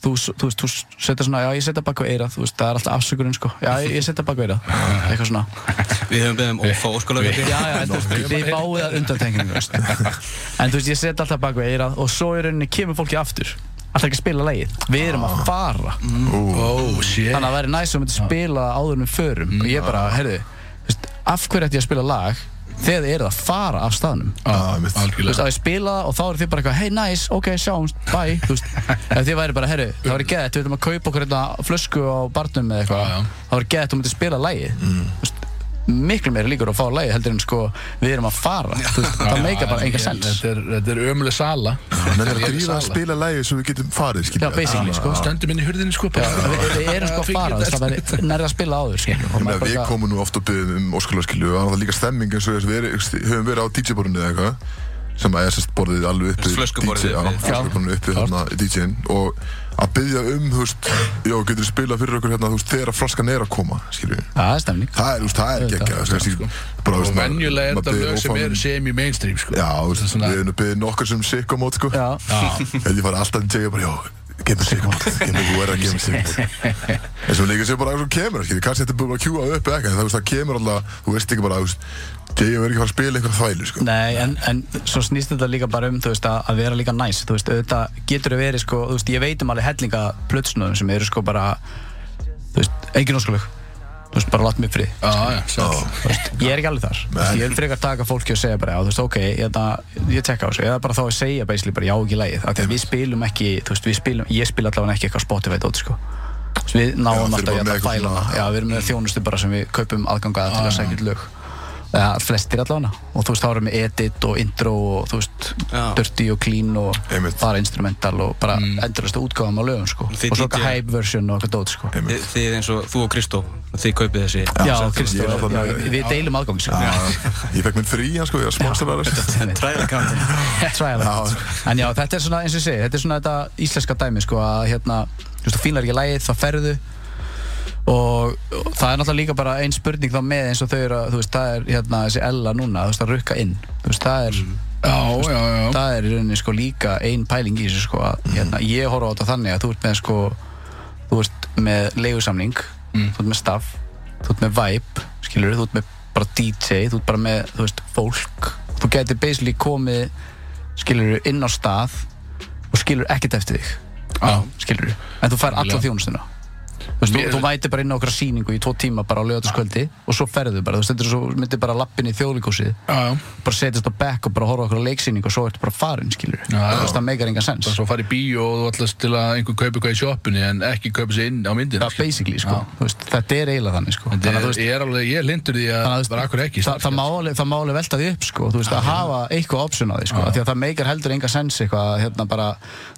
Speaker 3: þú, þú veist, þú setja svona já, ég setja bak við eira, þú veist, það er alltaf afsökurinn sko, já, ég ég setja bak við eira eitthvað svona,
Speaker 4: Við höfum beðið um að fá óskalöku
Speaker 3: já, já, en þú veist, þið fáið að undantekningu, þú veist. En þú veist, ég set alltaf bak við eirað og svo í rauninni kemur fólki aftur. Alltaf ekki að spila lagið. Við erum að fara.
Speaker 1: Mm.
Speaker 2: Oh shit
Speaker 3: Þannig að það væri næst að myndi spila það áður en við förum. Og ég bara, heyrðu, þú veist, af hverju ætti ég að spila lag þegar þið eruð að fara af staðnum?
Speaker 2: Já,
Speaker 1: einmitt.
Speaker 3: Þú veist,
Speaker 2: Algjörlega
Speaker 3: að ég spila það og þá eru þið bara eitthvað, hey, nice, ok, sjáumst, bye, þú veist. Ef þið væri bara, heyrðu, það væri geðett, við ætlum að kaupa okkur hérna flösku á barnum
Speaker 2: Já, já.
Speaker 3: eða eitthvað. Það væri geðett, þú myndir spila lagið.
Speaker 2: Mm.
Speaker 3: Þú veist, miklu meira líkur á að fá lagið heldur en sko, við erum að fara. Þú veist,
Speaker 2: Já,
Speaker 3: það meikar bara
Speaker 2: en
Speaker 3: enga
Speaker 2: ég-
Speaker 3: sens.
Speaker 2: Þetta er, þetta er ömuleg sala
Speaker 1: Menn er að
Speaker 2: Þetta
Speaker 1: drífa að
Speaker 2: sala.
Speaker 1: spila lægi sem við getum farið,
Speaker 3: Já,
Speaker 1: skilja.
Speaker 3: basically, sko.
Speaker 2: Stöndum inn í hurðinni sko
Speaker 3: Já,
Speaker 2: bara.
Speaker 3: við, við erum sko að fara, þú veist, það verður nærið að spila áður, skilju.
Speaker 1: Ég
Speaker 3: Og
Speaker 1: meina,
Speaker 3: maður bara
Speaker 1: við
Speaker 3: eitthvað-
Speaker 1: komum nú oft og byggðum um óskalega skilju og það er líka stemming eins og þess við er, höfum verið á DJ-borðinu eða eitthvað sem að SS borðið alveg uppi
Speaker 4: Flöskuborðið
Speaker 1: DJ, já,
Speaker 4: uppi.
Speaker 1: flöskuborðinu uppi þarna DJ-in og að byggja um, þú veist, já, getur þið spilað fyrir okkur hérna, þú veist, þegar að flaskan er að koma, skilju.
Speaker 3: Já, Það er stemning.
Speaker 1: Það er, þú veist, það er ekki ekki, þú veist, ég-
Speaker 3: sko.
Speaker 1: bara, þú
Speaker 2: Og
Speaker 1: veist, maður-
Speaker 2: venjulega er
Speaker 1: maður
Speaker 2: þetta
Speaker 1: biður
Speaker 2: lög sem
Speaker 1: ófáum-
Speaker 2: eru semi mainstream sko
Speaker 1: Já, þú veist,
Speaker 2: Svona-
Speaker 1: við höfum byggðið nokkur sem sikamót, sko.
Speaker 3: Já,
Speaker 1: Þegar ég fara alltaf að tjekka bara, já, gemur sigmót, gemur þú er að gemur sigmót. En svo líka sem bara eins og kemur, skilji, kannski þetta er búin að kjúa upp eða eitthvað, en það, þú veist, það kemur alltaf, þú veist ekki bara, þú veist, J.O. er ekki að fara að spila einhverja þvælu, sko.
Speaker 3: nei, en, en svo snýst þetta líka bara um, þú veist, að, að vera líka næs, þú veist, auðvitað getur þau verið, sko, þú veist, ég veit um alveg hellinga plötsnöðum sem eru sko bara, þú veist, engin óskalög, þú veist, bara látt mig frið.
Speaker 2: Já, já, sæll.
Speaker 3: Þú veist, ég er ekki alveg þar, Þú veist, ég vil frekar taka fólki og segja bara, já, þú veist, ok, ég, ég tekka á þessu, eða bara þá að segja basically bara, já, ekki lægið, af því að við spilum ekki, þú veist, við spilum, ég spil allavega ekki eitthvað á Spotify dót, sko. Þú veist, Við
Speaker 1: Já,
Speaker 3: náum
Speaker 1: þið
Speaker 3: alltaf
Speaker 1: eru bara með eitthvað
Speaker 3: í þetta fælana
Speaker 1: svona- Ah.
Speaker 3: Já, við erum með þjónustu bara sem við kaupum aðgangaða til að segja eitt lög Eða flestir allavega Og þú veist, þá erum við edit og intro og þú veist,
Speaker 4: Já.
Speaker 3: dirty og clean og
Speaker 1: Einmitt.
Speaker 3: bara instrumental og bara mm. endurlega útgáðum á lögum, sko
Speaker 4: Þið
Speaker 3: Og svo
Speaker 4: DJ.
Speaker 3: eitthvað hype version og eitthvað dót, sko
Speaker 1: Einmitt.
Speaker 4: Þið þið eins og þú og Kristó Þið kaupið þessi
Speaker 3: Já,
Speaker 1: ég
Speaker 4: Settu-
Speaker 1: er
Speaker 3: Kristóf,
Speaker 1: náttúrulega
Speaker 3: já,
Speaker 1: með-
Speaker 3: við deilum aðgang, sko
Speaker 1: Já, Ég fekk minn frí, hann, sko, ég er smástarar, sko.
Speaker 4: Trial account
Speaker 3: Trial
Speaker 1: Já.
Speaker 3: En já, þetta er svona, eins og ég segi, þetta er svona þetta íslenska dæmi sko, að hérna, þú veist, þú fílar ekki lægið, þá ferðu og, og það er náttúrulega líka bara ein spurning þá með eins og þau eru að, þú veist, það er hérna þessi Ella núna, þú veist, að rukka inn þú veist, það er,
Speaker 2: Já, já, Mhm. já
Speaker 3: það er í rauninni sko líka ein pæling í þessu sko að hérna, ég horfa á þetta þannig að þú ert með sko þú ert með leigusamning
Speaker 2: Mhm.
Speaker 3: þú ert með staff, þú ert með vibe skilur, þú ert með bara DJ þú ert bara með, þú veist, fólk þú getur basically komið skilur, inn á stað og skilur ekkert eftir þig,
Speaker 2: Já,
Speaker 3: skilur en þú fær alla
Speaker 2: Algjörlega.
Speaker 3: þjónustuna Þú veist,
Speaker 2: Mér-
Speaker 3: þú, þú mætir bara inn á okkar sýningu í tvo tíma bara á lögataskvöldi og svo ferðu bara, þú veist, þetta er svo myndir bara lappin í þjóðlíkúsið
Speaker 2: já, já
Speaker 3: bara setjast á bekk og bara horfa okkur á leiksýning og svo ertu bara farinn, skilur
Speaker 2: Já, já.
Speaker 3: þú veist, það meikar engan sens
Speaker 2: Það er svo að fara í bíó og þú ætlast til að einhver kaupi hvað í sjoppunni en ekki kaupi sér inn á myndina
Speaker 3: það basically, sko, þú veist, þetta er eiginlega þannig, sko
Speaker 2: Þannig
Speaker 3: þannig að þú veist,
Speaker 2: ég er alveg, ég er lindur því að
Speaker 3: þannig að
Speaker 2: það
Speaker 3: þú
Speaker 2: var akkur ekki
Speaker 3: veist, það, það, má alveg- það má alveg velta því upp, sko þú veist, að hafa eitthvað option á því, sko af því að það meikar heldur engan sens eitthvað, að, hérna bara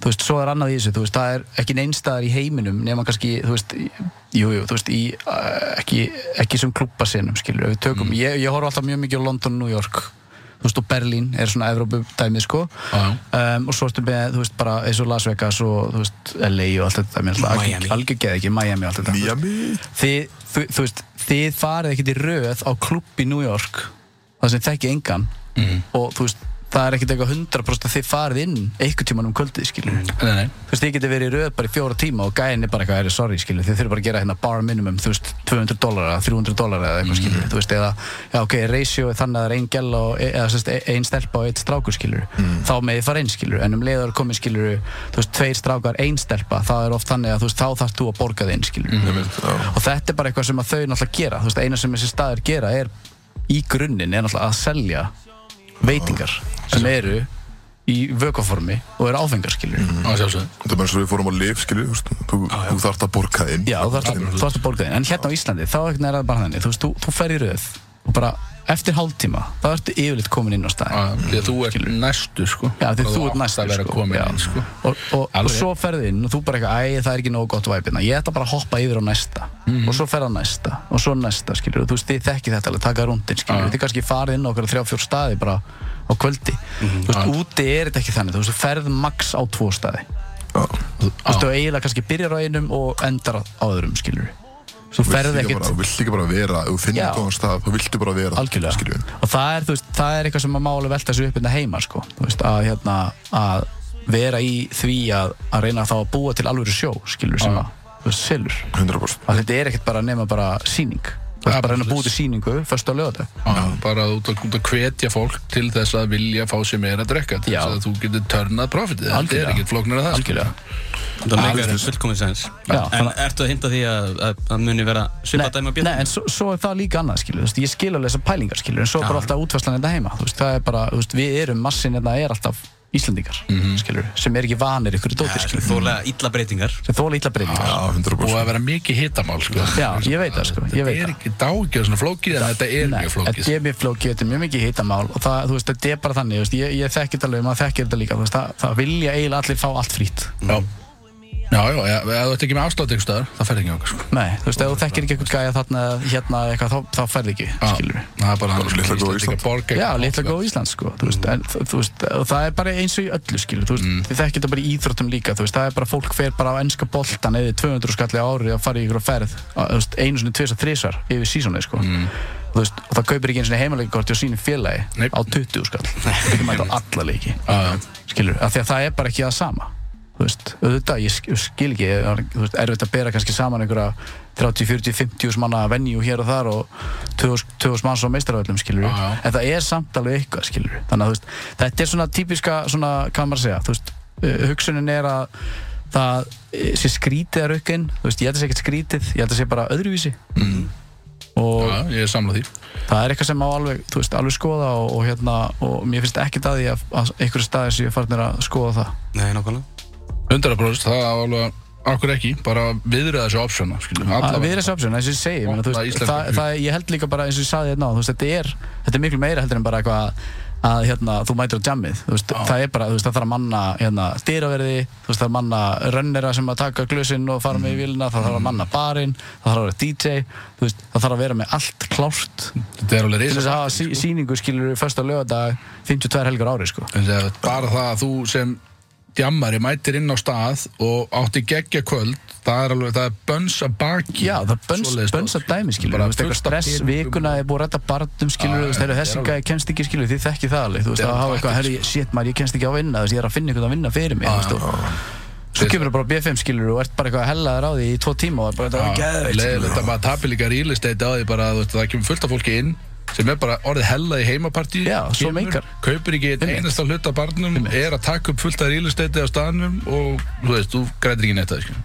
Speaker 3: þú veist, svo er annað í þessu, þú veist, það er ekki neinstaðar í heiminum, nema kannski, þú veist í- jú, jú, þú veist, í uh, ekki, ekki sem klubbasinum, skilur, við tökum
Speaker 2: Mm.
Speaker 3: ég, ég horf alltaf mjög mikið á London og New York þú veist, og Berlín er svona Evrópudæmi, sko
Speaker 2: Já.
Speaker 3: um, og svo ertu með, þú veist, bara eins og Las Vegas og, þú veist, LA og allt þetta mér
Speaker 4: Miami.
Speaker 3: alveg algjör geð ekki, Miami og allt þetta
Speaker 1: Miami.
Speaker 3: þið, þú, þú veist, þið farið ekkert í röð á klubb í New York það sem þekki engan og þú veist, það er ekkert eitthvað 100% að þið farið inn einhver tíman um kvöldið, skilur
Speaker 2: Nei, nei,
Speaker 3: þú veist, þið getið verið í röð bara í fjóra tíma og gæðin er bara eitthvað, er sorry, skilur, þið þurfum bara að gera hérna bar minimum, þú veist, 200 dólar eða 300 dólar eða eitthvað, skilur, þú veist, eða já, ok, ratio er þannig að það er ein gæl og e, eða sérst, ein stelpa og eitt strákur, skilur þá með þið fara einn, skilur, en um leiður komið, skilur, þú veist, tveir strákar, ein stelpa það er oft þannig að, þú veist, þá þarfst þú að borga þinn, skilur
Speaker 2: Mhm.
Speaker 3: og þetta er bara eitthvað sem að þau náttúrulega gera, þú veist, eina sem þessi staðir gera er í grunninn er náttúrulega að selja veitingar sem eru í vökaformi og eru áfengarskilur mm.
Speaker 2: Á sjálfsögðu.
Speaker 1: Þetta er bara eins og við fórum á lif, skilju, þú, veist, þú, þú þarft að borga inn
Speaker 3: Já, þú þarfst að- þú þarfst að borga þeim En hérna á Íslandi, þá er það bara þannig Þú veist, þú, þú fer í röð og bara eftir hálftíma þá ertu yfirleitt komin inn á staðin
Speaker 1: Mm.
Speaker 2: Já, Því að þú ert næstu sko
Speaker 3: Já, því
Speaker 2: Og
Speaker 3: þú ert
Speaker 2: átt
Speaker 3: næstur
Speaker 2: að vera
Speaker 3: sko.
Speaker 2: komin
Speaker 3: Já.
Speaker 2: inn sko
Speaker 3: og, og, og
Speaker 2: Alveg.
Speaker 3: svo ferði inn og þú bara eitthvað, æ, það er ekki nógu gott væpina ég ætla bara að hoppa yfir á næsta
Speaker 2: Mhm.
Speaker 3: og svo ferða næsta og svo næsta, skilur þú veist, þið þekkið þetta alveg, taka rúndin,
Speaker 2: Já.
Speaker 3: skilur þið kannski farið inn á okkur þrjá, fjór staði bara á kvöldi
Speaker 2: Mhm.
Speaker 3: þú veist, úti er þetta ekki þannig, þú veist, þú ferð max á tvo staði
Speaker 1: Þú
Speaker 3: þú veist, þú eiginlega kannski byrjar á einum og endar á á öðrum, skilur þú
Speaker 1: vilt
Speaker 3: ferð
Speaker 1: líka
Speaker 3: ekkert
Speaker 1: bara- þú vilt ekki bara vera, ef þú finnir
Speaker 3: Já.
Speaker 1: góðan stað, þú viltu bara vera
Speaker 3: algjörlega
Speaker 1: skilju.
Speaker 3: og það er, þú veist, það er eitthvað sem að mála velta þessu upp hérna heima sko. Þú veist, að, hérna, að vera í því að, að reyna þá að búa til alvöru sjó skilur sem að þú veist, selur
Speaker 1: 100%
Speaker 3: að þetta er ekkert bara nema bara síning þú
Speaker 2: Ja,
Speaker 3: veist bara að reyna að
Speaker 2: bara
Speaker 3: búa til síningu fyrst á lögata
Speaker 2: Já, bara út að, út að hvetja fólk til þess að vilja fá sér meira að drekka til
Speaker 3: Já.
Speaker 2: þess að þú getur törnað profitið þetta er
Speaker 3: Algjörlega.
Speaker 2: ekkert flóknar að það sko.
Speaker 3: algjörlega
Speaker 4: Það meikar þetta fullkomið sens.
Speaker 3: Já,
Speaker 4: En
Speaker 3: þannig-
Speaker 4: ertu að hinta því að, að, að muni vera svipað dæmi að
Speaker 3: nei,
Speaker 4: björn?
Speaker 3: en svo, svo er það líka annað skilur, þú veist, ég skil alveg þessar pælingar skilur en svo er bara alltaf útfæslan þetta heima þú veist, það er bara, þú veist, við erum massin þetta er alltaf Íslendingar skilur, sem er ekki vanir ykkur dóti
Speaker 4: Það
Speaker 3: skilur,
Speaker 4: er þólega illa breytingar.
Speaker 3: sem þóla ítla breytingar
Speaker 1: Já,
Speaker 2: og
Speaker 1: 100%
Speaker 2: að vera mikið hitamál sko.
Speaker 3: Já, ég veit það, sko, ég
Speaker 2: þetta
Speaker 3: veit
Speaker 2: er
Speaker 3: það.
Speaker 2: ekki dágjörð svona flókið en þetta er
Speaker 3: Nei,
Speaker 2: mjög flókið sko.
Speaker 3: Þetta er mjög flókið, þetta er mjög mikið hitamál og það, þú veist, þetta er bara þannig, þú veist, ég, ég þekkir þetta alveg, maður þekkir þetta líka, þú veist, það, það vilja eiginlega allir fá allt frýtt.
Speaker 2: já, já, já, já, ef þú ert ekki með afslátt ykkur staðar það fer ekki okkar sko.
Speaker 3: Nei, þú veist, ef þú þekkir ekki eitthvað gæja þarna eða hérna eða eitthvað, þá, þá ferði ekki,
Speaker 2: Já,
Speaker 3: skilur við.
Speaker 2: það er bara sko.
Speaker 1: Bara litla góða Ísland.
Speaker 2: borg
Speaker 3: Já, litla góð Ísland, sko, þú veist, en, þú- þú veist, og það er bara eins og í öllu, skilur, þú veist,
Speaker 2: Mm.
Speaker 3: þið þekkir þetta bara í íþróttum líka, þú veist, það er bara fólk fer bara á ennska boltan eða 200 skalli á ári að fara í ykkur ferð, að, þú veist, einu sinni, tvis og þrisvar yfir sísónið, sko,
Speaker 2: Mm.
Speaker 3: og þú veist, og það kaupir ekki einu sinni heimalegikorti og sínu félagi
Speaker 2: Nei.
Speaker 3: á 20 skall, ekki mæta á alla leiki,
Speaker 2: Já, já.
Speaker 3: skilur, af því að það er bara ekki það sama þú veist, auðvitað, ég sk- skil ekki það er, þú veist, erfitt að bera kannski saman einhverja 30, 40, 50 manna venju hér og þar og 2000 manns á meistaröðlum skilur
Speaker 2: Já, já.
Speaker 3: en það er samt alveg eitthvað skilur þannig að þú veist, þetta er svona típiska svona, hvað maður að segja, þú veist eh, hugsunin er að það eh, sé skrítið að raukinn, þú veist, ég held að sé ekkert skrítið ég held að sé bara öðruvísi og
Speaker 2: Mm. Já, ég er samlað því
Speaker 3: það er eitthvað sem má alveg, þú veist, alveg skoða og, og hérna, og mér finnst ekkert að því að, að einhverju staðir séu farnir að skoða það
Speaker 4: Nei, nákvæmlega.
Speaker 2: 100% það er alveg okkur ekki bara viðrið þessu option
Speaker 3: Alla
Speaker 2: allavega
Speaker 3: við erum samsjón, eins og ég segi ég meina, þú
Speaker 2: Opna
Speaker 3: veist,
Speaker 2: íslenska
Speaker 3: það,
Speaker 2: hug.
Speaker 3: það, ég held líka bara eins og ég saði hérna á, þú veist, þetta er þetta er miklu meira heldur en bara eitthvað að, að hérna, þú mætir á jammið, þú veist, það er bara þú veist, það þarf að manna hérna, styraverði þú veist, það er að manna rönnera sem að taka glösinn og fara með í
Speaker 2: Mm.
Speaker 3: vilna, það þarf að manna barinn það þarf að vera DJ, þú veist, það þarf að vera með allt klárt til
Speaker 2: þetta er alveg
Speaker 3: þess
Speaker 2: reysa
Speaker 3: að hafa sí, síningu skilur við fyrsta lögadag 52 helgar á ári, sko
Speaker 2: bara það að þú sem djammari mætir inn á stað og átti geggja kvöld það er alveg, það er bönns að baki
Speaker 3: Já, það bönns,
Speaker 2: Svoleiðis
Speaker 3: bönns að
Speaker 2: dót,
Speaker 3: dæmi skilur
Speaker 2: Bara
Speaker 3: Þú veist, eitthvað
Speaker 2: fullt af
Speaker 3: stress,
Speaker 2: peningum
Speaker 3: vikuna er búið að redda barndum skilur
Speaker 2: Já,
Speaker 3: Þú veist,
Speaker 2: já,
Speaker 3: heyrðu,
Speaker 2: þetta er
Speaker 3: þessi
Speaker 2: alveg-
Speaker 3: gæði kemst ekki skilur Þið þekki það alveg, þú veist,
Speaker 2: Þetta er
Speaker 3: að hafa
Speaker 2: alveg
Speaker 3: eitthvað
Speaker 2: taktík,
Speaker 3: Herri, shit maður, ég kemst ekki á vinna, þú veist, ég er að finna einhvern að vinna fyrir mig þú veist, og- Svo kemur það bara B5 skilur og ert bara eitthvað að hella þér á því í tvo tíma og er bara þetta var geðveikt, skilurðu.
Speaker 2: leðilegt að maður tapir líka real estate á því bara að þú veist, það kemur fullt af fólki inn sem er bara orðið hella í heimapartí
Speaker 3: Já, svo
Speaker 2: kemur,
Speaker 3: mengar.
Speaker 2: kaupir ekki einn
Speaker 3: Einmitt.
Speaker 2: einasta hlut af barnum er að taka upp fullt af real estate á staðnum og þú veist, þú grætir ekki neitt að því